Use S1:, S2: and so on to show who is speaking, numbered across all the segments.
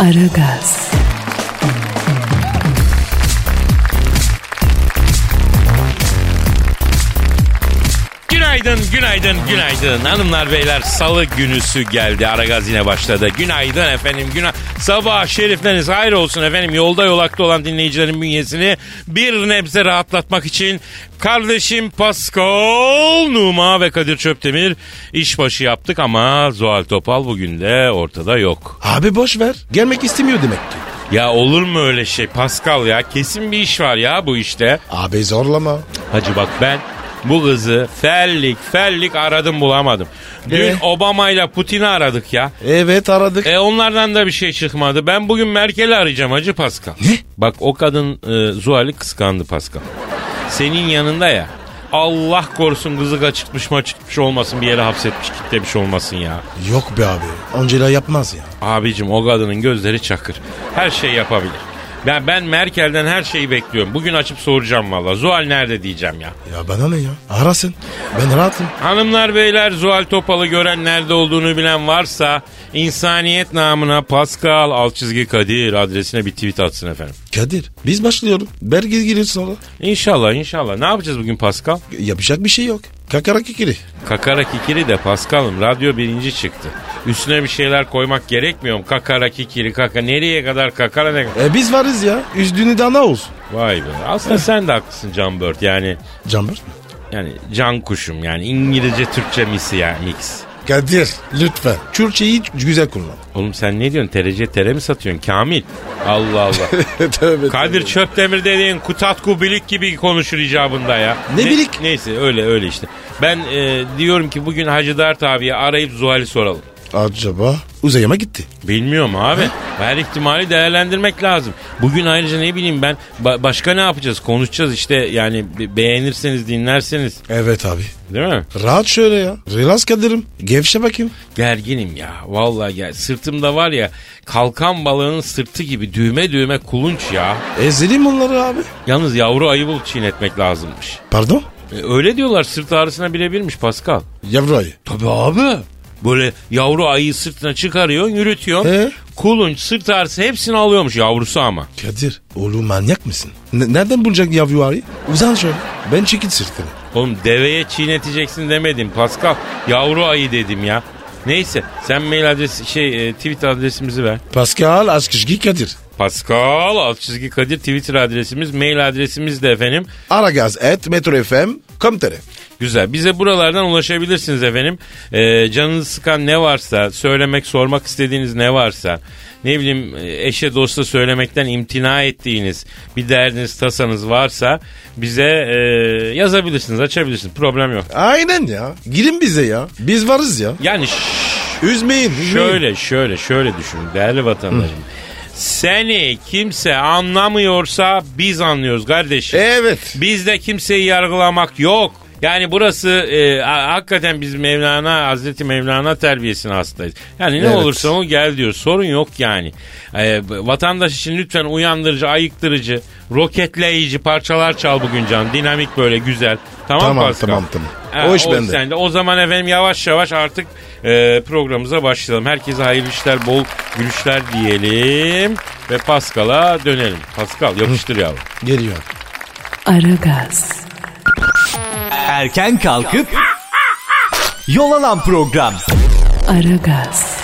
S1: Aragaz,
S2: Günaydın, günaydın, günaydın. Hanımlar, beyler salı günüsü geldi. Ara gaz yine başladı. Günaydın efendim, günay. Sabah şerifleriniz hayır olsun efendim. Yolda yolakta olan dinleyicilerin bünyesini bir nebze rahatlatmak için kardeşim Pascal Numa ve Kadir Çöptemir işbaşı yaptık ama Zuhal Topal bugün de ortada yok.
S3: Abi boş ver. Gelmek istemiyor demek ki.
S2: Ya olur mu öyle şey Pascal ya? Kesin bir iş var ya bu işte.
S3: Abi zorlama.
S2: Hacı bak ben bu kızı fellik fellik aradım bulamadım. Dün
S3: Ee?
S2: Obama ile Putin'i aradık ya.
S3: Evet aradık.
S2: E onlardan da bir şey çıkmadı. Ben bugün Merkel'i arayacağım Hacı Pascal.
S3: Ne?
S2: Bak o kadın e, Zuhal'i kıskandı Pascal. Senin yanında ya. Allah korusun kızı kaçırtmış maçırtmış olmasın bir yere hapsetmiş kitlemiş olmasın ya.
S3: Yok be abi. Angela yapmaz ya.
S2: Abicim o kadının gözleri çakır. Her şey yapabilir. Ben, ben Merkel'den her şeyi bekliyorum. Bugün açıp soracağım valla. Zuhal nerede diyeceğim ya.
S3: Ya bana ne ya? Arasın. Ben rahatım.
S2: Hanımlar beyler Zuhal Topal'ı gören nerede olduğunu bilen varsa insaniyet namına Pascal alt çizgi Kadir adresine bir tweet atsın efendim.
S3: Kadir biz başlıyorum. Belki girir sonra.
S2: İnşallah inşallah. Ne yapacağız bugün Pascal?
S3: Yapacak bir şey yok. Kakara kikiri.
S2: Kakara kikiri de Pascal'ım radyo birinci çıktı. Üstüne bir şeyler koymak gerekmiyor mu? Kakara kikiri kaka nereye kadar kakara ne
S3: E biz varız ya. Üzdüğünü daha ne olsun? Vay
S2: Vay be. Aslında sen de haklısın Can Bört. Yani
S3: Cambır.
S2: yani can kuşum yani İngilizce Türkçe misi ya mix.
S3: Kadir lütfen. Türkçeyi güzel kullan.
S2: Oğlum sen ne diyorsun? Terece tere mi satıyorsun? Kamil. Allah Allah.
S3: Tövbe.
S2: Kadir Çöptemir dediğin Kutatku Bilik gibi konuşur icabında ya.
S3: Ne bilik?
S2: Neyse öyle öyle işte. Ben e, diyorum ki bugün Hacı Dert abiye arayıp Zuhal'i soralım.
S3: Acaba uzayama gitti.
S2: Bilmiyorum abi. Her ihtimali değerlendirmek lazım. Bugün ayrıca ne bileyim ben ba- başka ne yapacağız? Konuşacağız işte yani be- beğenirseniz dinlerseniz
S3: Evet abi.
S2: değil mi?
S3: Rahat şöyle ya. Relax Kadir'im. Gevşe bakayım.
S2: Gerginim ya. Vallahi gel. Sırtımda var ya kalkan balığının sırtı gibi düğme düğme kulunç ya.
S3: Ezelim onları abi.
S2: Yalnız yavru ayı bulup çiğnetmek lazımmış.
S3: Pardon?
S2: E, Öyle diyorlar sırt ağrısına bilebilmiş Pascal.
S3: Yavru ayı.
S2: Tabii abi. Böyle yavru ayıyı sırtına çıkarıyor, yürütüyor.
S3: He?
S2: Kulunç, sırt ağrısı hepsini alıyormuş yavrusu ama.
S3: Kadir oğlum manyak mısın? Ne- nereden bulacak yavru ayı? Uzan şöyle. Ben çekil sırtını.
S2: Oğlum deveye çiğneteceksin demedim Pascal. Yavru ayı dedim ya. Neyse sen mail adresi şey e, tweet adresimizi ver.
S3: Pascal Askışgi Kadir.
S2: Pascal alt çizgi Kadir Twitter adresimiz mail adresimiz de efendim.
S3: Aragaz et Metro FM Komtere.
S2: Güzel. Bize buralardan ulaşabilirsiniz efendim. Ee, canınızı sıkan ne varsa, söylemek, sormak istediğiniz ne varsa, ne bileyim e, eşe dosta söylemekten imtina ettiğiniz bir derdiniz, tasanız varsa bize e, yazabilirsiniz, açabilirsiniz. Problem yok.
S3: Aynen ya. Girin bize ya. Biz varız ya.
S2: Yani ş-
S3: Üzmeyin. üzmeyin.
S2: Şöyle şöyle şöyle düşün değerli vatandaşım. Seni kimse anlamıyorsa biz anlıyoruz kardeşim.
S3: Evet.
S2: Bizde kimseyi yargılamak yok. Yani burası e, ha- hakikaten biz Mevlana Hazreti Mevlana terbiyesine hastayız. Yani ne
S3: Evet.
S2: olursa o gel diyor. Sorun yok yani. E, b- vatandaş için lütfen uyandırıcı, ayıktırıcı, roketleyici parçalar çal bugün can. Dinamik böyle güzel. Tamam,
S3: Tamam,
S2: Pascal?
S3: tamam, tamam.
S2: Ha,
S3: O iş bende.
S2: sende. O zaman efendim yavaş yavaş artık e, programımıza başlayalım. Herkese hayırlı işler, bol gülüşler diyelim ve Pascal'a dönelim. Pascal yapıştır yavrum.
S3: Geliyor.
S1: Aragaz,
S4: Erken kalkıp yol alan program.
S1: Aragaz,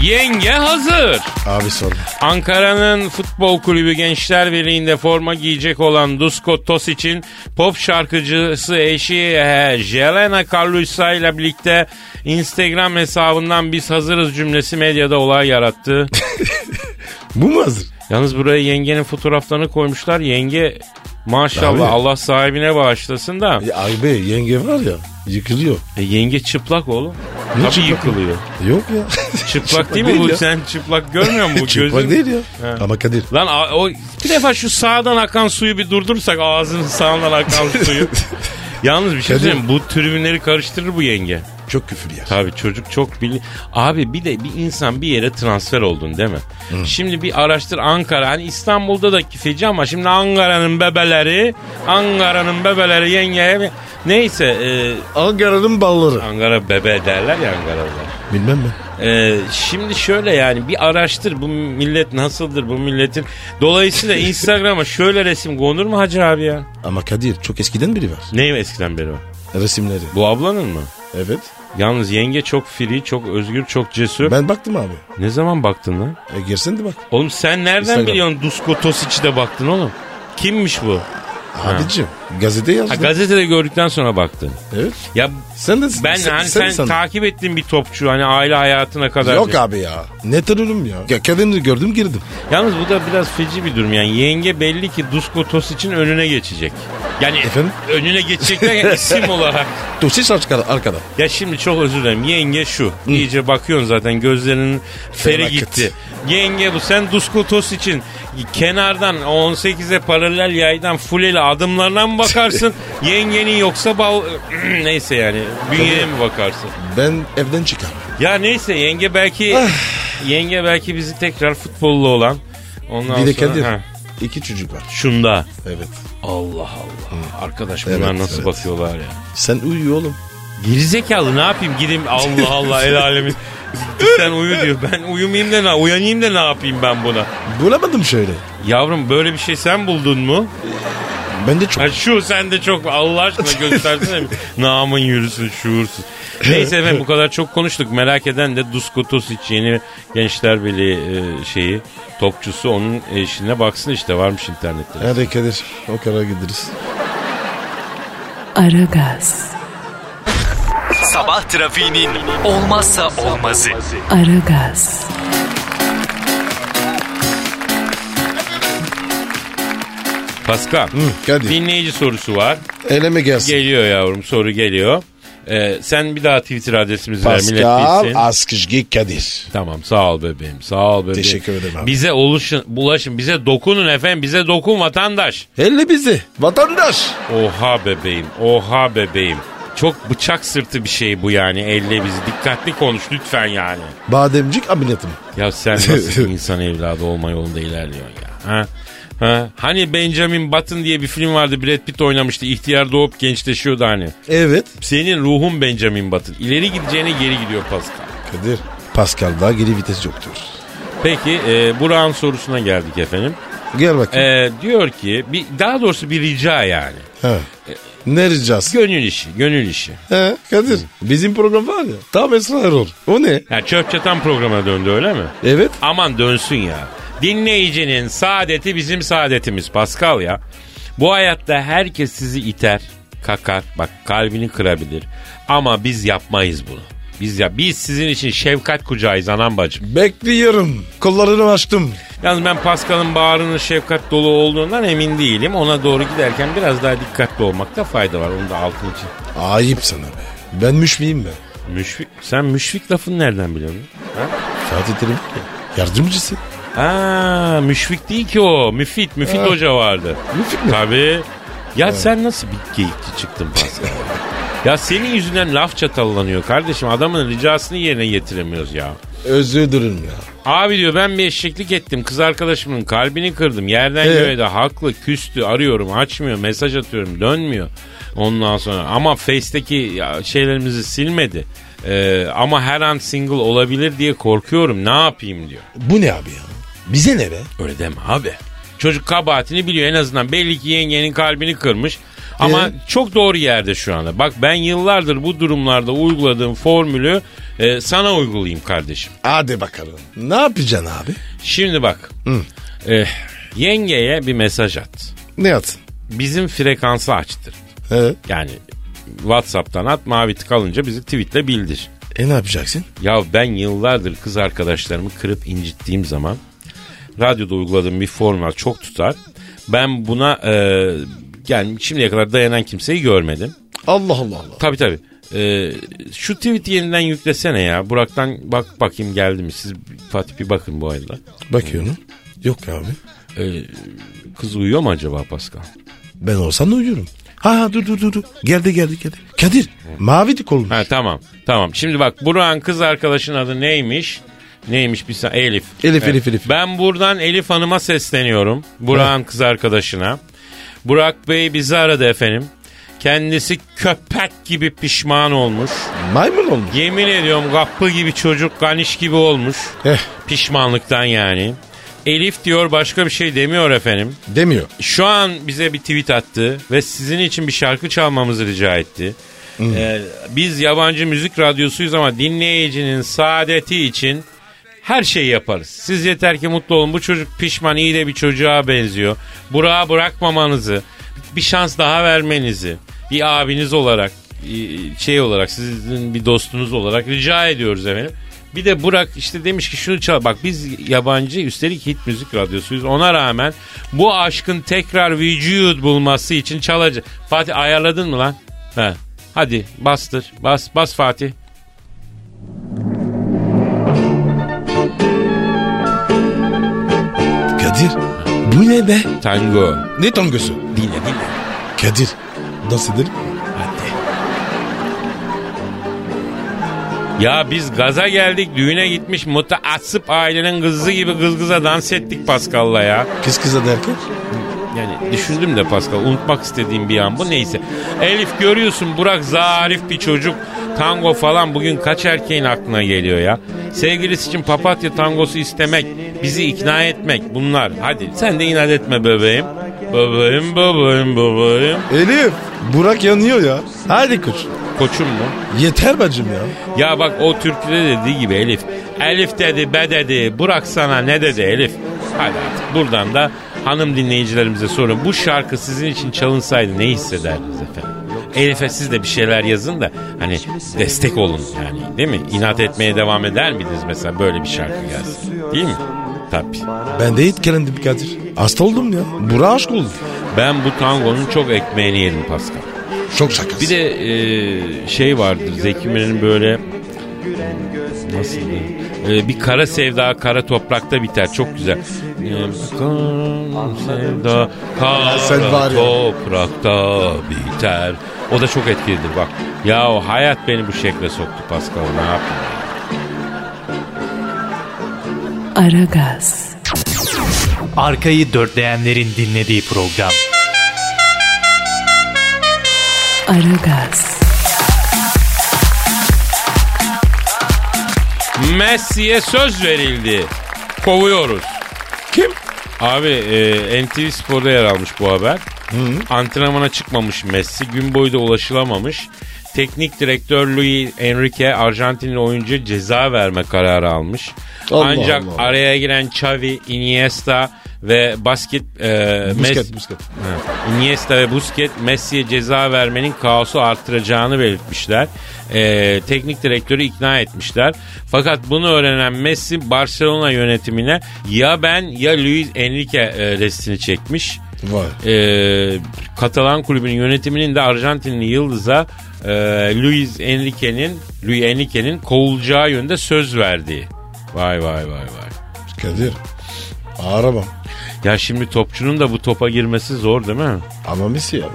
S2: Yenge hazır.
S3: Abi sor.
S2: Ankara'nın futbol kulübü Gençler Birliği'nde forma giyecek olan Dusko Tos için pop şarkıcısı eşi e, Jelena Carlusa ile birlikte Instagram hesabından biz hazırız cümlesi medyada olay yarattı.
S3: Bu mu hazır?
S2: Yalnız buraya yengenin fotoğraflarını koymuşlar. Yenge Maşallah
S3: Abi.
S2: Allah sahibine bağışlasın da.
S3: Ya abi yenge var ya yıkılıyor.
S2: E, yenge çıplak oğlum. Tabii
S3: çıplak?
S2: yıkılıyor.
S3: Yok ya.
S2: Çıplak değil mi bu?
S3: ya.
S2: Sen çıplak görmüyor musun? Bu
S3: Çıplak
S2: gözün-
S3: değil ya.
S2: He.
S3: Ama Kadir
S2: Lan a- o bir defa şu sağdan akan suyu bir durdursak ağzının sağından akan suyu. Yalnız bir şey
S3: Kadir.
S2: söyleyeyim bu tribünleri karıştırır bu yenge.
S3: çok küfür ya.
S2: Tabii çocuk çok bilin. Abi bir de bir insan bir yere transfer oldun değil mi? Şimdi bir araştır Ankara. Hani İstanbul'da da feci ama şimdi Ankara'nın bebeleri, Ankara'nın bebeleri yengeye bir- Neyse e,
S3: Ankara'nın balları.
S2: Ankara bebe derler ya Ankara'da.
S3: Bilmem ben.
S2: Ee, şimdi şöyle yani bir araştır bu millet nasıldır bu milletin. Dolayısıyla Instagram'a şöyle resim konur mu Hacı abi ya?
S3: Ama Kadir çok eskiden biri var.
S2: Neyim eskiden beri var?
S3: Resimleri.
S2: Bu ablanın mı?
S3: Evet.
S2: Yalnız yenge çok free, çok özgür, çok cesur.
S3: Ben baktım abi.
S2: Ne zaman baktın lan?
S3: E girsin de bak.
S2: Oğlum sen nereden
S3: Instagram.
S2: biliyorsun Dusko Tosic'i de baktın oğlum? Kimmiş bu?
S3: Abicim gazete yazdı.
S2: Ha, gazetede gördükten sonra baktın.
S3: evet.
S2: Ya
S3: Sen de
S2: ben
S3: sen,
S2: hani
S3: sen
S2: sen,
S3: de sandın.
S2: takip ettiğin bir topçu hani aile hayatına kadar.
S3: Yok abi ya. Ne tanırım ya. ya Kadir'i gördüm girdim.
S2: Yalnız bu da biraz feci bir durum yani. Yenge belli ki Dusko Tosic'in önüne geçecek. Yani
S3: Efendim?
S2: önüne geçecek derken isim olarak.
S3: Tosis arkada. arkada.
S2: Ya şimdi çok özür dilerim. Yenge şu. İyice bakıyorsun zaten gözlerinin feri
S3: Felaket.
S2: gitti. Yenge bu. Sen Dusko Tosic'in kenardan 18'e paralel yaydan fuleli adımlarına mı bakarsın? yengenin yoksa bal... neyse yani. Bünyeye mi bakarsın?
S3: Ben evden çıkarım.
S2: Ya neyse yenge belki... yenge belki bizi tekrar futbollu olan. Ondan
S3: Bir de
S2: sonra...
S3: Kadir.
S2: Ha,
S3: İki çocuk var.
S2: Şunda.
S3: Evet.
S2: Allah Allah. Arkadaş
S3: Evet,
S2: bunlar nasıl
S3: evet.
S2: bakıyorlar ya.
S3: Sen uyuyor oğlum.
S2: Gerizekalı ne yapayım gideyim Allah Allah el alemin. Sen uyu diyor. Ben uyumayayım da ne uyanayım da ne yapayım ben buna.
S3: Bulamadım şöyle.
S2: Yavrum böyle bir şey sen buldun mu?
S3: Ben de çok.
S2: Ha şu sen de çok Allah aşkına göstersene. Namın yürüsün şuursuz. Neyse efendim bu kadar çok konuştuk. Merak eden de Dusko Tosic yeni Gençler Birliği e, şeyi topçusu onun eşine baksın işte varmış internette.
S3: Hadi Kadir. O kadar gideriz.
S1: Aragaz,
S4: Sabah trafiğinin olmazsa olmazı.
S1: Aragaz,
S2: Pascal.
S3: Kadir.
S2: Dinleyici sorusu var.
S3: Eleme gelsin.
S2: Geliyor yavrum soru geliyor. Ee, sen bir daha Twitter adresimizi ver millet
S3: Pascal
S2: bilsin.
S3: Askışgi Kadir.
S2: Tamam sağ ol bebeğim sağ ol bebeğim.
S3: Teşekkür ederim abi.
S2: Bize oluşun, bulaşın bize dokunun efendim bize dokun vatandaş.
S3: Elle bizi. Vatandaş.
S2: Oha bebeğim oha bebeğim. Çok bıçak sırtı bir şey bu yani elle bizi dikkatli konuş lütfen yani.
S3: Bademcik ameliyatım.
S2: Ya sen nasıl bir insan evladı olma yolunda ilerliyorsun ya. Ha? Ha? Hani Benjamin Button diye bir film vardı Brad Pitt oynamıştı ihtiyar doğup gençleşiyordu hani.
S3: Evet.
S2: Senin ruhun Benjamin Button. İleri gideceğine geri gidiyor Pascal.
S3: Kadir. Pascal daha geri vites yoktur.
S2: Peki e, Burak'ın sorusuna geldik efendim.
S3: Gel bakayım.
S2: E, diyor ki bir, daha doğrusu bir rica yani.
S3: ha. Ne ricası?
S2: Gönül işi, gönül işi.
S3: Ha, Kadir. Bizim program var ya. Tam Esra Erol. O ne?
S2: Ya çöp çatan programa döndü öyle mi?
S3: Evet.
S2: Aman dönsün ya. Dinleyicinin saadeti bizim saadetimiz Pascal ya. Bu hayatta herkes sizi iter, kakar, bak kalbini kırabilir. Ama biz yapmayız bunu. Biz ya biz sizin için şefkat kucağıyız anam bacım.
S3: Bekliyorum. Kollarını açtım.
S2: Yalnız ben Pascal'ın bağrının şefkat dolu olduğundan emin değilim. Ona doğru giderken biraz daha dikkatli olmakta fayda var. Onu da altını için.
S3: Ayıp sana be. Ben müşmiyim ben.
S2: Müşfik. Sen müşfik lafını nereden biliyorsun? Ha?
S3: Fatih Terim ya, yardımcısı.
S2: Aa, müşfik değil ki o. Müfit. Müfit Hoca vardı.
S3: Müfit mi?
S2: Tabii. Ya sen nasıl bir geyikçi çıktın Pascal? ya senin yüzünden laf çatallanıyor kardeşim. Adamın ricasını yerine getiremiyoruz ya.
S3: Özür dilerim ya.
S2: Abi diyor ben bir eşeklik ettim. Kız arkadaşımın kalbini kırdım. Yerden
S3: Evet.
S2: göğe de haklı küstü. Arıyorum açmıyor. Mesaj atıyorum dönmüyor. Ondan sonra ama Face'teki ya şeylerimizi silmedi. Ee, ama her an single olabilir diye korkuyorum. Ne yapayım diyor.
S3: Bu ne abi ya? Bize ne be?
S2: Öyle deme abi. Çocuk kabahatini biliyor en azından. Belli ki yengenin kalbini kırmış. Ama
S3: Ee?
S2: çok doğru yerde şu anda. Bak ben yıllardır bu durumlarda uyguladığım formülü e, sana uygulayayım kardeşim.
S3: Hadi bakalım. Ne yapacaksın abi?
S2: Şimdi bak. Eh, yengeye bir mesaj at.
S3: Ne yatsın?
S2: Bizim frekansı açtır.
S3: He?
S2: Yani Whatsapp'tan at mavi tık alınca bizi tweetle bildir.
S3: E ne yapacaksın?
S2: Ya ben yıllardır kız arkadaşlarımı kırıp incittiğim zaman radyoda uyguladığım bir form var çok tutar. Ben buna e, yani şimdiye kadar dayanan kimseyi görmedim.
S3: Allah Allah Allah.
S2: Tabii tabii. E, şu tweet'i yeniden yüklesene ya. Burak'tan bak bakayım geldi mi? Siz Fatih bir bakın bu arada.
S3: Bakıyorum. Yok abi.
S2: E, kız uyuyor mu acaba Pascal?
S3: Ben olsam da uyuyorum. Ha ha, dur dur dur. dur. Geldi geldi geldi. Kadir mavi dik olmuş.
S2: Ha tamam. Tamam. Şimdi bak Burak'ın kız arkadaşının adı neymiş? Neymiş bir sa- Elif.
S3: Elif, Elif, Elif.
S2: Ben buradan Elif Hanım'a sesleniyorum. Burak'ın kız arkadaşına. Burak Bey bizi aradı efendim. Kendisi köpek gibi pişman olmuş.
S3: Maymun olmuş.
S2: Yemin ediyorum kapı gibi çocuk ganiş gibi olmuş.
S3: Eh.
S2: Pişmanlıktan yani. Elif diyor başka bir şey demiyor efendim.
S3: Demiyor.
S2: Şu an bize bir tweet attı ve sizin için bir şarkı çalmamızı rica etti. Ee, biz yabancı müzik radyosuyuz ama dinleyicinin saadeti için her şeyi yaparız. Siz yeter ki mutlu olun. Bu çocuk pişman iyi de bir çocuğa benziyor. Burak'a bırakmamanızı, bir şans daha vermenizi, bir abiniz olarak, e, şey olarak, sizin bir dostunuz olarak rica ediyoruz efendim. Bir de Burak işte demiş ki şunu çal. Bak biz yabancı üstelik hit müzik radyosuyuz. Ona rağmen bu aşkın tekrar vücut bulması için çalacak. Fatih ayarladın mı lan? He. Hadi bastır. Bas bas Fatih.
S3: Kadir bu ne be?
S2: Tango.
S3: Ne tangosu?
S2: Dinle dinle.
S3: Kadir nasıl edelim?
S2: Ya biz gaza geldik düğüne gitmiş mutaassıp ailenin kızı gibi kız kıza dans ettik Pascal'la ya.
S3: Kız kıza derken?
S2: Yani düşündüm de Pascal unutmak istediğim bir an bu neyse. Elif görüyorsun Burak zarif bir çocuk. Tango falan bugün kaç erkeğin aklına geliyor ya. Sevgilisi için papatya tangosu istemek, bizi ikna etmek bunlar. Hadi sen de inat etme bebeğim. Bebeğim bebeğim bebeğim.
S3: Elif. Burak yanıyor ya. Hadi kuş.
S2: Koçum mu?
S3: Yeter bacım ya.
S2: Ya bak o türküde dediği gibi Elif. Elif dedi be dedi Burak sana ne dedi Elif. Hadi artık buradan da hanım dinleyicilerimize sorun. Bu şarkı sizin için çalınsaydı ne hissederdiniz efendim? Elif'e siz de bir şeyler yazın da hani destek olun yani değil mi? İnat etmeye devam eder miydiniz mesela böyle bir şarkı gelsin? Değil mi? Tabii.
S3: Ben de etkilendim Kadir. Hasta oldum ya. Burak aşk oldu.
S2: Ben bu tangonun çok ekmeğini yedim Pascal.
S3: Çok şakası.
S2: Bir de e, şey vardır Zeki Müren'in böyle nasıl diyeyim? E, bir kara sevda kara toprakta biter çok güzel. E, kara sevda kara
S3: sen var ya.
S2: toprakta biter. O da çok etkilidir bak. Ya o hayat beni bu şekle soktu Pascal ne yapayım?
S1: Aragaz,
S4: Arkayı dörtleyenlerin dinlediği program.
S1: Aragaz,
S2: Messi'ye söz verildi. Kovuyoruz.
S3: Kim?
S2: Abi e, NTV Spor'da yer almış bu haber. Antrenmana çıkmamış Messi. Gün boyu da ulaşılamamış. Teknik direktör Luis Enrique Arjantinli oyuncu ceza verme kararı almış.
S3: Allah
S2: Ancak
S3: Allah.
S2: araya giren Xavi, Iniesta ve basket e,
S3: Busket,
S2: Messi-
S3: busket.
S2: Ha. Iniesta ve Busquets Messi'ye ceza vermenin kaosu arttıracağını belirtmişler. Ee, teknik direktörü ikna etmişler. Fakat bunu öğrenen Messi Barcelona yönetimine ya ben ya Luis Enrique e, restini çekmiş.
S3: Vay.
S2: Ee, Katalan kulübünün yönetiminin de Arjantinli yıldıza e, Luis Enrique'nin Luis Enrique'nin kovulacağı yönde söz verdiği. Vay vay vay vay.
S3: Kadir. Arabam.
S2: Ya şimdi topçunun da bu topa girmesi zor değil mi?
S3: Ama Messi abi.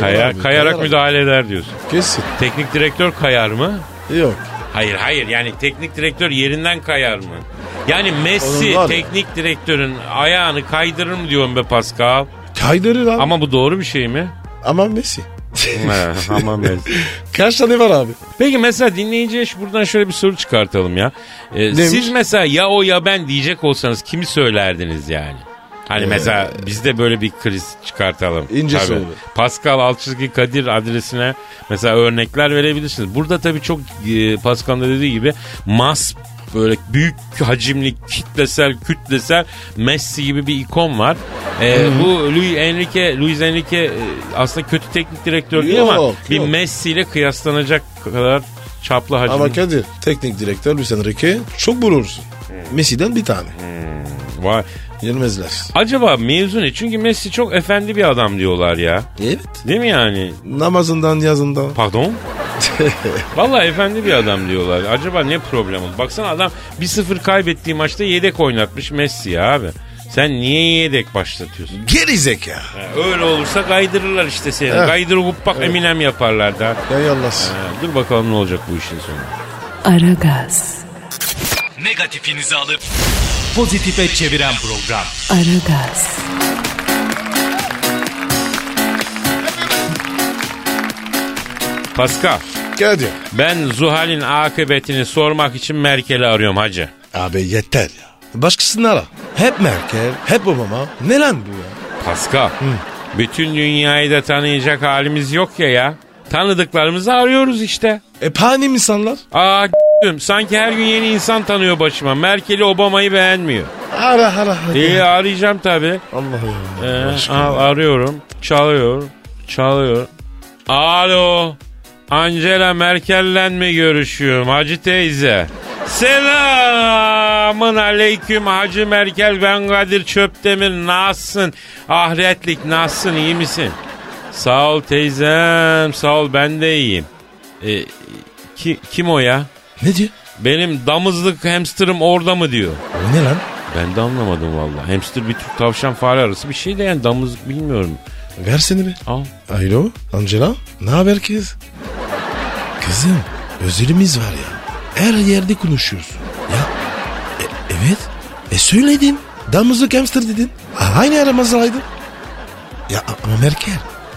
S3: Kayar
S2: Kaya,
S3: abi,
S2: kayarak
S3: abi.
S2: müdahale eder diyorsun.
S3: Kesin.
S2: Teknik direktör kayar mı?
S3: Yok.
S2: Hayır hayır yani teknik direktör yerinden kayar mı? Yani
S3: Onun
S2: Messi
S3: var ya.
S2: teknik direktörün ayağını kaydırır mı diyorum be Pascal.
S3: Kaydırır abi. Ama,
S2: Ama bu doğru bir şey mi?
S3: Messi.
S2: He, Ama Messi.
S3: Kaç tane var abi?
S2: Peki mesela dinleyiciye şu- buradan şöyle bir soru çıkartalım ya. Ee, siz mesela ya o ya ben diyecek olsanız kimi söylerdiniz yani? Hani mesela biz de böyle bir kriz çıkartalım.
S3: İnce
S2: Tabii.
S3: Ee, soru.
S2: Pascal Alçızki Kadir adresine mesela örnekler verebilirsiniz. Burada tabii çok e, Pascal'ın da dediği gibi mas böyle büyük hacimli kitlesel kütlesel Messi gibi bir ikon var. Ee, bu Luis Enrique Luis Enrique e, aslında kötü teknik direktör değil ama
S3: Yok,
S2: bir
S3: yok.
S2: Messi ile kıyaslanacak kadar çaplı hacim.
S3: Ama Kadir teknik direktör Luis Enrique çok bulursun. Messi'den bir tane.
S2: Vay.
S3: Yenmezler.
S2: Acaba mevzu ne? Çünkü Messi çok efendi bir adam diyorlar ya.
S3: Evet.
S2: Değil mi yani?
S3: Namazından yazından.
S2: Pardon? Vallahi efendi bir adam diyorlar. Acaba ne problem oldu? Baksana adam 1-0 kaybettiği maçta yedek oynatmış Messi ya abi. Sen niye yedek başlatıyorsun?
S3: Geri zeka.
S2: Ha, öyle olursa kaydırırlar işte seni. Kaydır huppak Eminem yaparlar da.
S3: Ya yallas.
S2: Ha, dur bakalım ne olacak bu işin sonu.
S1: Aragaz,
S4: Negatifinizi alıp pozitife çeviren program.
S1: Aragaz,
S2: Pascal,
S3: Gel diyor.
S2: ben Zuhal'in akıbetini sormak için Merkel'i arıyorum hacı.
S3: Abi yeter ya. Başkasını ara. Hep Merkel, hep Obama. Ne lan bu ya?
S2: Pascal, bütün dünyayı da tanıyacak halimiz yok ya ya. Tanıdıklarımızı arıyoruz işte.
S3: E panim insanlar?
S2: Aa g***üm, sanki her gün yeni insan tanıyor başıma. Merkel'i Obama'yı beğenmiyor.
S3: Ara ara. ara.
S2: İyi arayacağım tabii.
S3: Allah
S2: Ee,
S3: ya. aşkına.
S2: al, arıyorum. Çalıyor. Çalıyor. Alo. Angela Merkel'le mi görüşüyorum Hacı teyze? Selamın aleyküm Hacı Merkel ben Kadir Çöptemir nasılsın? Ahretlik nasılsın iyi misin? Sağ ol teyzem sağ ol ben de iyiyim. Ee, ki- kim o ya?
S3: Ne diyor?
S2: Benim damızlık hamsterım orada mı diyor.
S3: O ne lan?
S2: Ben de anlamadım valla. Hamster bir tür tavşan fare arası bir şey de yani damızlık bilmiyorum.
S3: Versene bir.
S2: Al.
S3: Alo Angela. Ne haber kız? Kızım özelimiz var ya. Her yerde konuşuyorsun. Ya e- evet. E söyledin. Damızlık hamster dedin. A- Aynı aramızdaydın. Ya a- ama Merkel.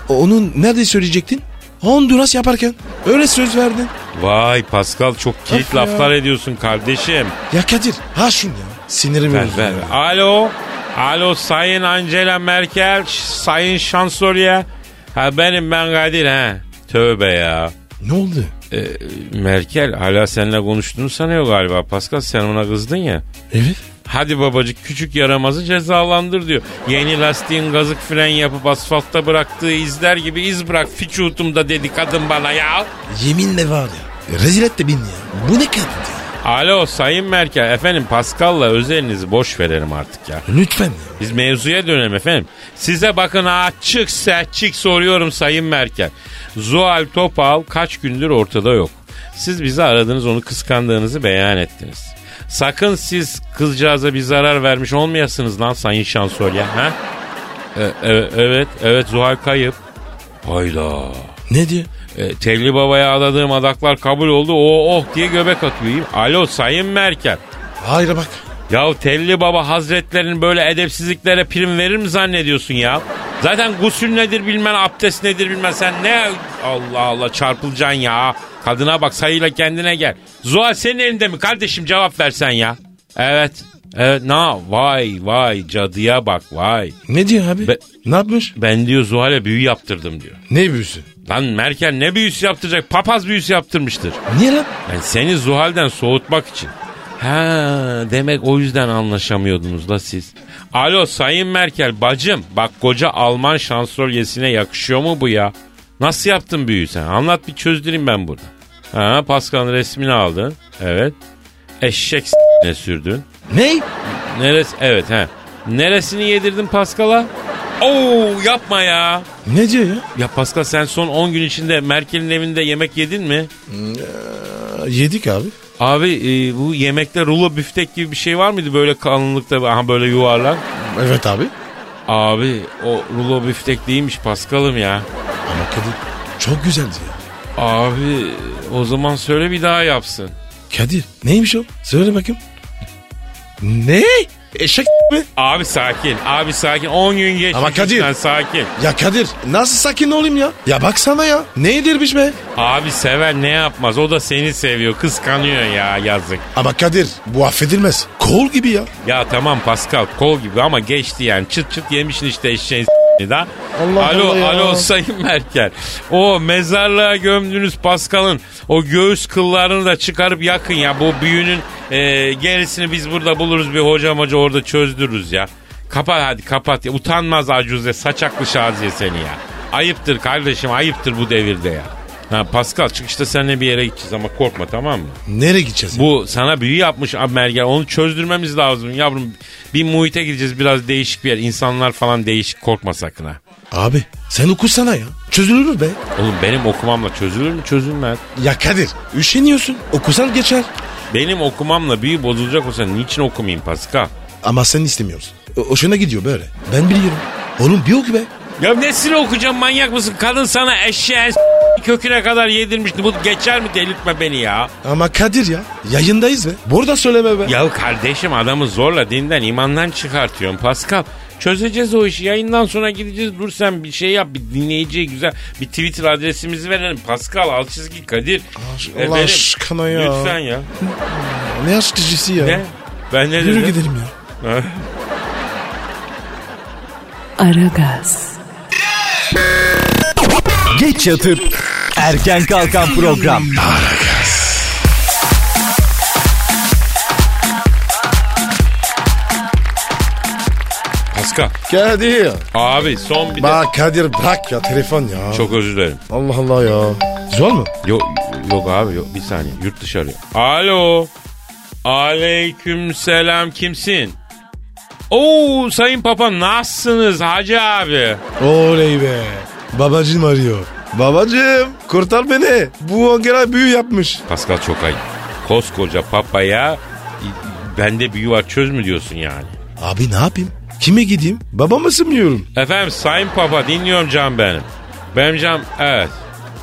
S3: o- Onun nerede söyleyecektin? Honduras yaparken. Öyle söz verdin.
S2: Vay Pascal çok kilit
S3: Of ya.
S2: laflar ediyorsun kardeşim.
S3: Ya Kadir ha şunu ya. Sinirim
S2: Ver
S3: bozuldu
S2: ver.
S3: ya.
S2: Alo. Alo Sayın Angela Merkel, Ş- Sayın Şansölye. Ha benim ben Kadir ha. Tövbe ya.
S3: Ne oldu?
S2: Ee, Merkel hala seninle konuştuğunu sanıyor galiba. Pascal sen ona kızdın ya.
S3: Evet.
S2: Hadi babacık küçük yaramazı cezalandır diyor. Yeni lastiğin gazık fren yapıp asfaltta bıraktığı izler gibi iz bırak fiçutumda dedi kadın bana ya.
S3: Yeminle var ya. Rezil etti beni ya. Bu ne kadın ya?
S2: Alo Sayın Merkel efendim Pascal'la özelinizi boş verelim artık ya.
S3: Lütfen ya.
S2: Biz mevzuya dönelim efendim. Size bakın açık seçik soruyorum Sayın Merkel. Zuhal Topal kaç gündür ortada yok. Siz bizi aradınız onu kıskandığınızı beyan ettiniz. Sakın siz kızcağıza bir zarar vermiş olmayasınız lan Sayın Şansölye. Ha? E- e- evet, evet Zuhal kayıp. Hayda.
S3: Ne diyor?
S2: E, Telli Baba'ya adadığım adaklar kabul oldu. O oh diye göbek atıyor. Alo Sayın Merkel.
S3: Hayır bak.
S2: Ya Telli Baba Hazretlerinin böyle edepsizliklere prim verir mi zannediyorsun ya? Zaten gusül nedir bilmem, abdest nedir bilmem. Sen ne Allah Allah çarpılacaksın ya. Kadına bak sayıyla kendine gel. Zuhal senin elinde mi kardeşim cevap versen ya. Evet. Evet na vay vay cadıya bak vay.
S3: Ne diyor abi?
S2: Be-
S3: ne yapmış?
S2: Ben diyor Zuhal'e büyü yaptırdım diyor.
S3: Ne büyüsü?
S2: Lan Merkel ne büyüsü yaptıracak? Papaz büyüsü yaptırmıştır.
S3: Niye lan?
S2: Yani seni Zuhal'den soğutmak için. Ha demek o yüzden anlaşamıyordunuz la siz. Alo Sayın Merkel bacım bak koca Alman şansölyesine yakışıyor mu bu ya? Nasıl yaptın büyüyü sen? Anlat bir çözdüreyim ben burada. Ha Pascal'ın resmini aldın. Evet. Eşek ne sürdün.
S3: Ne?
S2: Neresi? Evet he. Neresini yedirdin Pascal'a? Oo yapma ya.
S3: Ne diyor ya?
S2: Ya Pascal sen son 10 gün içinde Merkel'in evinde yemek yedin mi?
S3: Yedik abi.
S2: Abi e, bu yemekte rulo büftek gibi bir şey var mıydı böyle kalınlıkta aha böyle yuvarlak?
S3: Evet abi.
S2: Abi o rulo büftek değilmiş Paskal'ım ya.
S3: Ama Kadir çok güzeldi ya.
S2: Abi o zaman söyle bir daha yapsın.
S3: Kadir neymiş o? Söyle bakayım. Ne? Eşek mi?
S2: Abi sakin, abi sakin. 10 gün geçmiş.
S3: Ama Kadir-
S2: lütfen sakin.
S3: Ya Kadir nasıl sakin olayım ya? Ya baksana ya. Ne yedirmiş be?
S2: Abi seven ne yapmaz? O da seni seviyor, kıskanıyor ya yazık.
S3: Ama Kadir bu affedilmez. Kol gibi ya.
S2: Ya tamam Pascal kol gibi ama geçti yani. Çıt çıt yemişsin işte eşeğin s***ni da.
S3: Allah
S2: alo
S3: Allah ya.
S2: alo Sayın Merkel. O mezarlığa gömdüğünüz Pascal'ın o göğüs kıllarını da çıkarıp yakın ya. Bu büyünün e, gerisini biz burada buluruz bir hocam hoca orada çözdürürüz ya. Kapat hadi kapat ya. Utanmaz acuze saçaklı şaziye seni ya. Ayıptır kardeşim ayıptır bu devirde ya. Ha Pascal çıkışta seninle bir yere gideceğiz ama korkma tamam mı?
S3: Nereye gideceğiz? ya?
S2: Bu sana büyü yapmış Mergen. Onu çözdürmemiz lazım yavrum. Bir muhite gideceğiz biraz değişik bir yer. İnsanlar falan değişik korkma sakın ha.
S3: Abi sen okusana ya. Çözülür mü be.
S2: Oğlum benim okumamla çözülür mü? Çözülmez.
S3: Ya Kadir üşeniyorsun. Okusan geçer.
S2: Benim okumamla büyü bozulacak olsa niçin okumayayım Pascal?
S3: Ama sen istemiyorsun. O, hoşuna gidiyor böyle. Ben biliyorum. Oğlum bir oku be.
S2: Ya nesini okuyacağım manyak mısın? Kadın sana eşeğe s- köküne kadar yedirmişti. Bu geçer mi delirtme beni ya.
S3: Ama Kadir ya yayındayız be. Burada söyleme be.
S2: Ya kardeşim adamı zorla dinden imandan çıkartıyorsun Pascal. Çözeceğiz o işi. Yayından sonra gideceğiz. Dur sen bir şey yap. Bir dinleyiciye güzel bir Twitter adresimizi verelim. Pascal alt çizgi Kadir.
S3: Aş-
S2: E,
S3: Allah
S2: verin.
S3: aşkına ya.
S2: Lütfen ya.
S3: Ne aşk dizisi ya.
S2: Ne? Ben ne
S3: Yürü
S2: dedim?
S3: gidelim ya.
S1: Aragaz,
S4: Geç yatıp erken kalkan program.
S2: Pascal.
S3: Kadir.
S2: Abi son bir de...
S3: Bak Kadir bırak ya telefon ya.
S2: Çok özür dilerim.
S3: Allah Allah ya. Zor mu?
S2: Yok yok abi yok bir saniye yurt dışı arıyor. Alo. Aleyküm selam kimsin? Oo sayın papa nasılsınız hacı abi?
S3: Oley be. Babacım arıyor. Babacım kurtar beni. Bu Angela büyü yapmış.
S2: Pascal çok ayıp. Koskoca papaya i- bende büyü var çöz mü diyorsun yani?
S3: Abi ne yapayım? Kime gideyim? Babama sığmıyorum.
S2: Efendim sayın papa dinliyorum can benim. Benim can evet.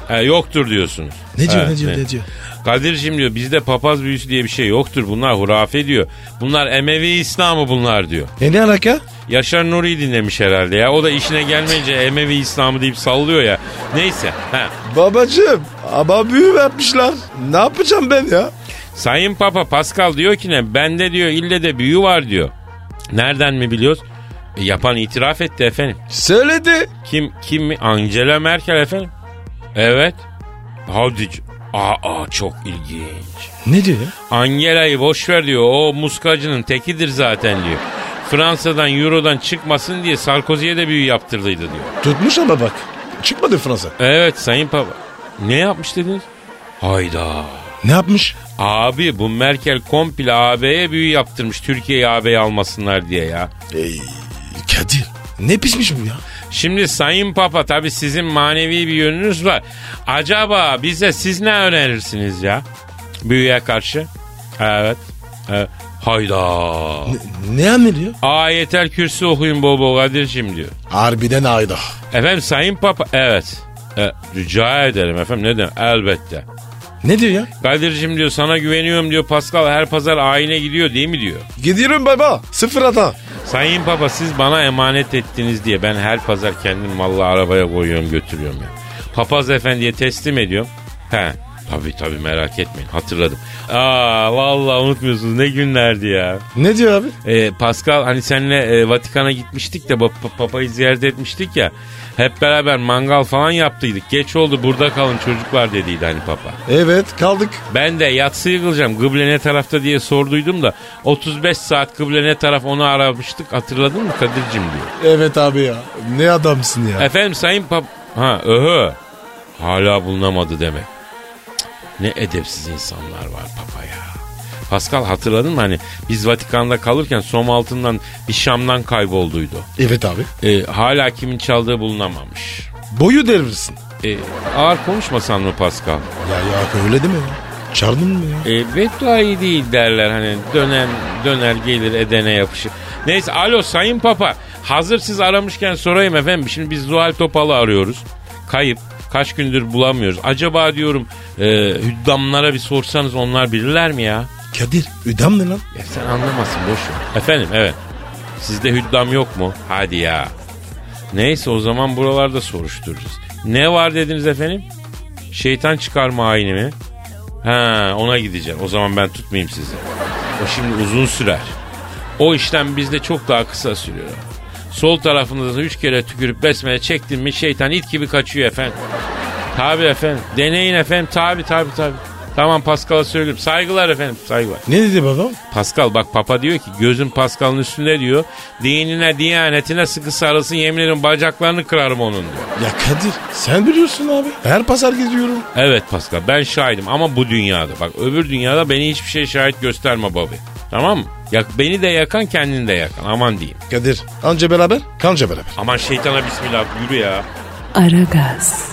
S2: E, yoktur diyorsunuz.
S3: Ne diyor,
S2: Evet,
S3: ne diyor, ne diyor?
S2: Kadir'cim diyor bizde papaz büyüsü diye bir şey yoktur. Bunlar hurafe diyor. Bunlar Emevi İslam'ı bunlar diyor.
S3: E ne alaka?
S2: Yaşar Nuri'yi dinlemiş herhalde ya. O da işine gelmeyince Emevi İslam'ı deyip sallıyor ya. Neyse. Ha.
S3: Babacım ama büyü yapmışlar. Ne yapacağım ben ya?
S2: Sayın Papa Pascal diyor ki ne? Bende diyor ille de büyü var diyor. Nereden mi biliyoruz? E, yapan itiraf etti efendim.
S3: Söyledi.
S2: Kim kim mi? Angela Merkel efendim. Evet. Hadi. c- Aa, aa çok ilginç.
S3: Ne diyor ya?
S2: Angela'yı boş ver diyor. O muskacının tekidir zaten diyor. Fransa'dan Euro'dan çıkmasın diye Sarkozy'ye de büyü yaptırdıydı diyor.
S3: Tutmuş ama bak. Çıkmadı Fransa.
S2: Evet Sayın Papa. Ne yapmış dediniz? Hayda.
S3: Ne yapmış?
S2: Abi bu Merkel komple AB'ye büyü yaptırmış Türkiye'yi AB'ye almasınlar diye ya.
S3: Ey Kadir. Ne pismiş bu ya?
S2: Şimdi Sayın Papa tabi sizin manevi bir yönünüz var. Acaba bize siz ne önerirsiniz ya? Büyüye karşı. Evet. evet. Hayda.
S3: Ne anlıyor?
S2: Ayetel kürsü okuyun bol bol Kadir'cim diyor.
S3: Harbiden ayda.
S2: Efendim Sayın Papa evet. E, rica ederim efendim ne demek elbette.
S3: Ne diyor ya?
S2: Kadir'cim diyor sana güveniyorum diyor Pascal her pazar ayine gidiyor değil mi diyor.
S3: Gidiyorum baba. Sıfır hata.
S2: Sayın Papa siz bana emanet ettiniz diye ben her pazar kendim mallı arabaya koyuyorum götürüyorum ya. Papaz efendiye teslim ediyorum. He tabii tabii merak etmeyin hatırladım. Aa vallahi unutmuyorsunuz ne günlerdi ya.
S3: Ne diyor abi?
S2: Ee, Pascal hani seninle e, Vatikan'a gitmiştik de pap- papayı ziyaret etmiştik ya. Hep beraber mangal falan yaptıydık. Geç oldu burada kalın çocuklar dediydi hani papa.
S3: Evet kaldık.
S2: Ben de yatsı yıkılacağım kıble ne tarafta diye sorduydum da 35 saat kıble ne taraf onu aramıştık hatırladın mı Kadir'cim diyor.
S3: Evet abi ya. Ne adamsın ya.
S2: Efendim sayın pap... Ha öhö. Hala bulunamadı demek. Cık, Ne edepsiz insanlar var papa ya. Pascal hatırladın mı hani biz Vatikan'da kalırken som altından bir Şam'dan kaybolduydu.
S3: Evet abi.
S2: Ee, hala kimin çaldığı bulunamamış.
S3: Boyu devirsin.
S2: Ee, ağır konuşmasan mı Pascal?
S3: Ya ya öyle deme ya. Çaldın mı ya?
S2: Ee, beddua iyi değil derler hani dönen döner gelir edene yapışır. Neyse alo sayın papa hazır siz aramışken sorayım efendim şimdi biz Zuhal Topal'ı arıyoruz. Kayıp kaç gündür bulamıyoruz. Acaba diyorum e, hüddamlara bir sorsanız onlar bilirler mi ya?
S3: Kadir üdam ne lan?
S2: Ya E, sen anlamasın boş ver. Efendim evet sizde hüddam yok mu? Hadi ya. Neyse o zaman buralarda soruştururuz. Ne var dediniz efendim? Şeytan çıkarma ayini mi? Ha ona gideceğim. O zaman ben tutmayayım sizi. O şimdi uzun sürer. O işlem bizde çok daha kısa sürüyor. Sol tarafınızı üç kere tükürüp besmele çektin mi şeytan it gibi kaçıyor efendim. Tabi efendim. Deneyin efendim. Tabi tabi tabi. Tamam Pascal'a söylüyorum. Saygılar efendim saygılar.
S3: Ne dedi babam?
S2: Pascal bak papa diyor ki gözün Pascal'ın üstünde diyor. Dinine diyanetine sıkı sarılsın yemin ederim bacaklarını kırarım onun diyor.
S3: Ya Kadir sen biliyorsun abi. Her pazar geziyorum.
S2: Evet Pascal ben şahidim ama bu dünyada. Bak öbür dünyada beni hiçbir şey şahit gösterme babi. Tamam mı? Yak, beni de yakan kendini de yakan aman diyeyim.
S3: Kadir anca beraber kanca beraber.
S2: Aman şeytana bismillah yürü ya.
S1: Aragaz,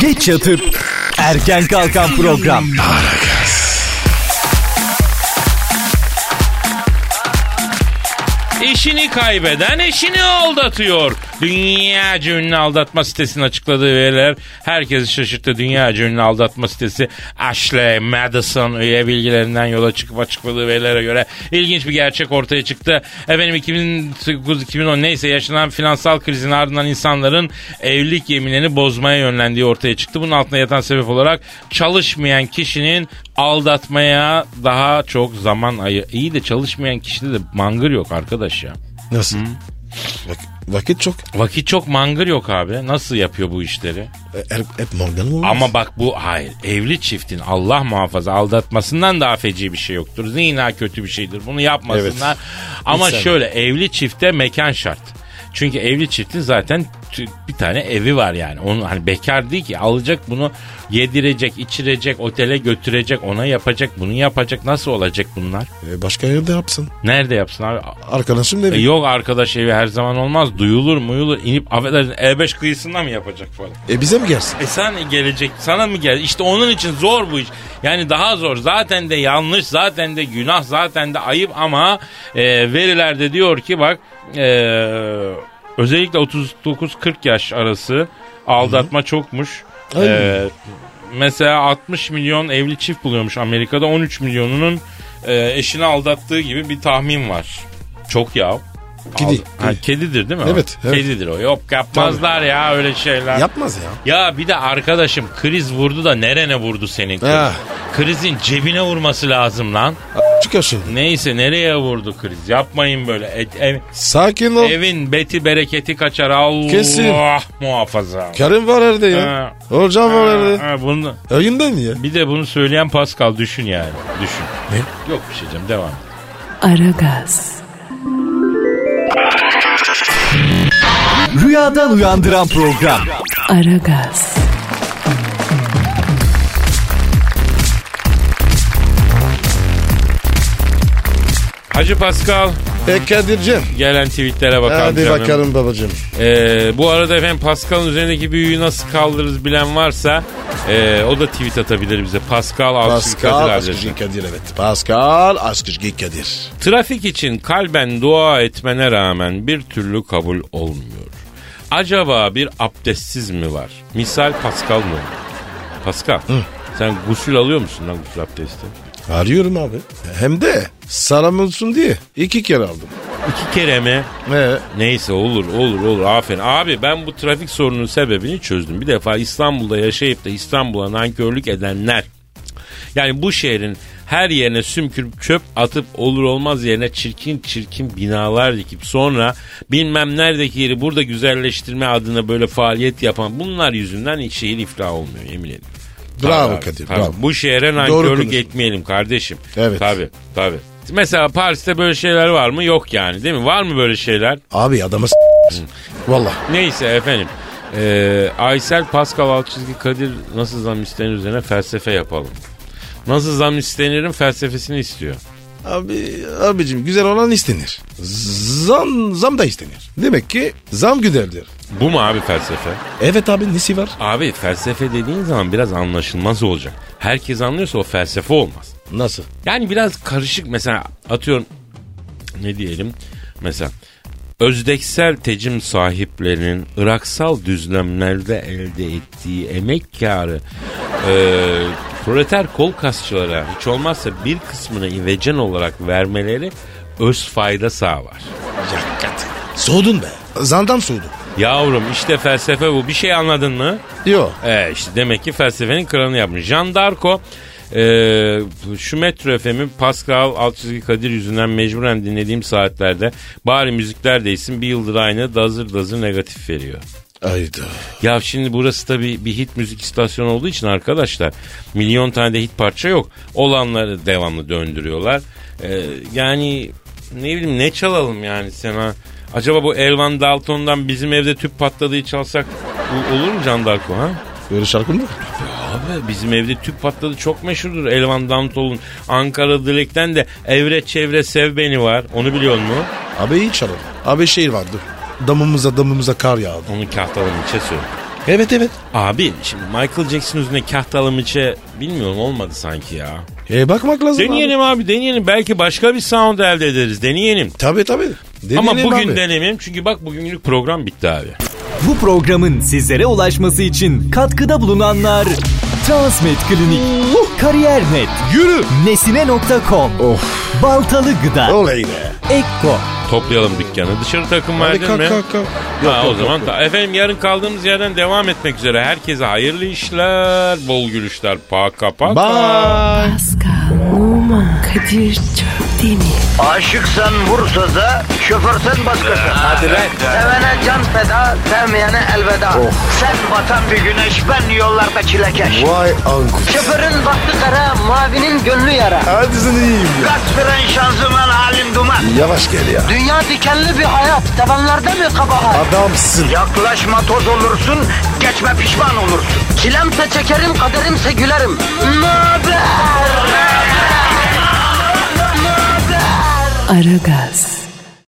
S4: Geç yatıp erken kalkan program.
S2: Eşini kaybeden eşini aldatıyor. Dünya ünlü aldatma sitesinin açıkladığı veriler herkesi şaşırttı. Dünya ünlü aldatma sitesi Ashley Madison üye bilgilerinden yola çıkıp açıkladığı verilere göre ilginç bir gerçek ortaya çıktı. Efendim 2009-2010 neyse yaşanan finansal krizin ardından insanların evlilik yeminlerini bozmaya yönlendiği ortaya çıktı. Bunun altında yatan sebep olarak çalışmayan kişinin aldatmaya daha çok zaman ayı. İyi de çalışmayan kişide de mangır yok arkadaş ya.
S3: Nasıl? Bak, vakit çok.
S2: Vakit çok mangır yok abi. Nasıl yapıyor bu işleri?
S3: E, Her, hep Morgan olmaz.
S2: Ama bak bu hayır. Evli çiftin Allah muhafaza aldatmasından daha feci bir şey yoktur. Zina kötü bir şeydir. Bunu yapmasınlar.
S3: Evet.
S2: Ama
S3: İnsan.
S2: şöyle evli çifte mekan şart. Çünkü evli çiftin zaten t- bir tane evi var yani. Onun hani bekar değil ki alacak bunu yedirecek, içirecek, otele götürecek, ona yapacak, bunu yapacak. Nasıl olacak bunlar?
S3: E, başka yerde yapsın.
S2: Nerede yapsın abi?
S3: Arkadaşım
S2: E,
S3: dedi.
S2: yok arkadaş evi her zaman olmaz. Duyulur muyulur. inip affedersin E5 kıyısında mı yapacak falan?
S3: E, bize mi gelsin?
S2: E sen gelecek sana mı gel? İşte onun için zor bu iş. Yani daha zor. Zaten de yanlış, zaten de günah, zaten de ayıp ama e, verilerde diyor ki bak e, özellikle 39-40 yaş arası aldatma çokmuş.
S3: Aynen.
S2: E, mesela 60 milyon evli çift buluyormuş Amerika'da 13 milyonunun e, eşini aldattığı gibi bir tahmin var. Çok ya.
S3: Kedi,
S2: Aldı-
S3: kedi.
S2: Ha, kedidir değil mi? o?
S3: Evet, evet.
S2: Kedidir o. Yok yapmazlar ya öyle şeyler.
S3: Yapmaz ya.
S2: Ya bir de arkadaşım kriz vurdu da nerene vurdu senin kriz?
S3: Ah.
S2: Krizin cebine vurması lazım lan.
S3: A- Çıkar şimdi.
S2: Neyse nereye vurdu kriz? Yapmayın böyle. E- ev-
S3: Sakin ol.
S2: evin beti bereketi kaçar. Allah
S3: Oh. Kesin.
S2: muhafaza.
S3: Karın var evde ya.
S2: Ha.
S3: Hocam var evde.
S2: Ha, bunu,
S3: Ayından ya.
S2: bir de bunu söyleyen Pascal düşün yani. Düşün.
S3: Ne?
S2: Yok bir şey canım devam.
S1: Aragaz,
S4: Rüyadan uyandıran program.
S1: Aragaz,
S2: Hacı Pascal
S3: E Kadir'cim.
S2: gelen tweetlere bakalım
S3: Hadi
S2: canım.
S3: bakalım babacığım.
S2: Ee, bu arada efendim Pascal'ın üzerindeki büyüyü nasıl kaldırırız bilen varsa e, o da tweet atabilir bize. Pascal Altçı Kadir
S3: Pascal
S2: adresi.
S3: Askışgi Kadir evet. Pascal Askışgi Kadir.
S2: Trafik için kalben dua etmene rağmen bir türlü kabul olmuyor. Acaba bir abdestsiz mi var? Misal Pascal mı? Pascal sen gusül alıyor musun lan gusül abdesti?
S3: Arıyorum abi. Hem de salam olsun diye iki kere aldım.
S2: İki kere mi?
S3: Ee,
S2: Neyse olur olur olur aferin. Abi ben bu trafik sorununun sebebini çözdüm. Bir defa İstanbul'da yaşayıp da İstanbul'a nankörlük edenler. Yani bu şehrin her yerine sümkürüp çöp atıp olur olmaz yerine çirkin çirkin binalar dikip sonra bilmem neredeki yeri burada güzelleştirme adına böyle faaliyet yapan bunlar yüzünden şehir iflah olmuyor yemin ederim.
S3: bravo
S2: Tabii,
S3: Kadir.
S2: tabii.
S3: Bravo.
S2: Bu şehre
S3: konuşuyorsun.
S2: nankörlük etmeyelim kardeşim.
S3: Evet.
S2: Tabii tabii. Mesela Paris'te böyle şeyler var mı? Yok yani değil mi? Var mı böyle şeyler?
S3: Abi adamı s- Valla.
S2: Neyse efendim. Ee, Aysel Pascal Alçızgi Kadir nasıl zam istenir üzerine felsefe yapalım. Nasıl zam istenirin felsefesini istiyor.
S3: Abi, abicim güzel olan istenir. Zam, zam da istenir. Demek ki zam güzeldir.
S2: Bu mu abi felsefe?
S3: Evet abi nesi var?
S2: Abi felsefe dediğin zaman biraz anlaşılmaz olacak. Herkes anlıyorsa o felsefe olmaz.
S3: Nasıl?
S2: Yani biraz karışık mesela atıyorum ne diyelim mesela özdeksel tecim sahiplerinin Iraksal düzlemlerde elde ettiği emek karı e, proleter kol kasçılara hiç olmazsa bir kısmını ivecen olarak vermeleri öz fayda sağlar.
S3: Ya Kadir. Soğudun be. Zamdan soğudun.
S2: Yavrum işte felsefe bu. Bir şey anladın mı?
S3: Yo.
S2: E işte demek ki felsefenin kralını yapmış. Jean Darko e, şu Metro FM'i Pascal alt çizgi Kadir yüzünden mecburen dinlediğim saatlerde bari müzikler değilsin bir yıldır aynı dazır dazır negatif veriyor.
S3: Hayda.
S2: Ya şimdi burası tabii bir hit müzik istasyonu olduğu için arkadaşlar milyon tane de hit parça yok. Olanları devamlı döndürüyorlar. Ee, yani ne bileyim ne çalalım yani sana? Acaba bu Elvan Dalton'dan bizim evde tüp patladığı çalsak bu olur mu Can Darko ha?
S3: Böyle şarkı mı?
S2: Abi bizim evde tüp patladı çok meşhurdur. Elvan Dalton'un Ankara Dilek'ten de Evre Çevre Sev Beni var. Onu biliyor musun?
S3: Abi iyi çalalım. Abi şehir vardı. Damımıza damımıza kar yağdı.
S2: Onu kahtalanın içe söyle.
S3: Evet evet.
S2: Abi şimdi Michael Jackson üzerine kahtalı içe bilmiyorum olmadı sanki ya.
S3: E bakmak lazım abi.
S2: Deneyelim abi deneyelim. Belki başka bir sound elde ederiz. Deneyelim.
S3: Tabii tabii. Deneyelim
S2: Ama bugün
S3: abi.
S2: denemeyelim çünkü bak bugünlük program bitti abi.
S4: Bu programın sizlere ulaşması için katkıda bulunanlar Transmed Klinik, Kariyer.net,
S3: Yürü.
S4: Nesine.com,
S3: Of.
S4: Baltalı Gıda,
S3: Oley be.
S4: Ekko,
S2: Toplayalım dükkanı. Dışarı takım
S3: Hadi
S2: verdin
S3: kalk
S2: mi?
S3: kalk kalk.
S2: Ha, o zaman da- efendim yarın kaldığımız yerden devam etmek üzere. Herkese hayırlı işler, bol gülüşler, paka paka.
S3: Bye.
S1: Pascal, Oman, Kadir çok değil mi?
S5: Aşıksan vursa da, şoförsen başkasın. Hadi Sevene can feda, sevmeyene elveda.
S3: Oh.
S5: Sen batan bir güneş, ben yollarda çilekeş.
S3: Vay anku.
S5: Şoförün baktı kara, mavinin gönlü yara.
S3: Hadi sen iyiyim ya.
S5: Kasperen şanzıman halin duman.
S3: Yavaş gel ya.
S5: Dünya dikenli bir hayat, sevenlerde mi kabahar?
S3: Adamsın.
S5: Yaklaşma toz olursun, geçme pişman olursun. Çilemse çekerim, kaderimse gülerim. Möber!
S1: Aragaz.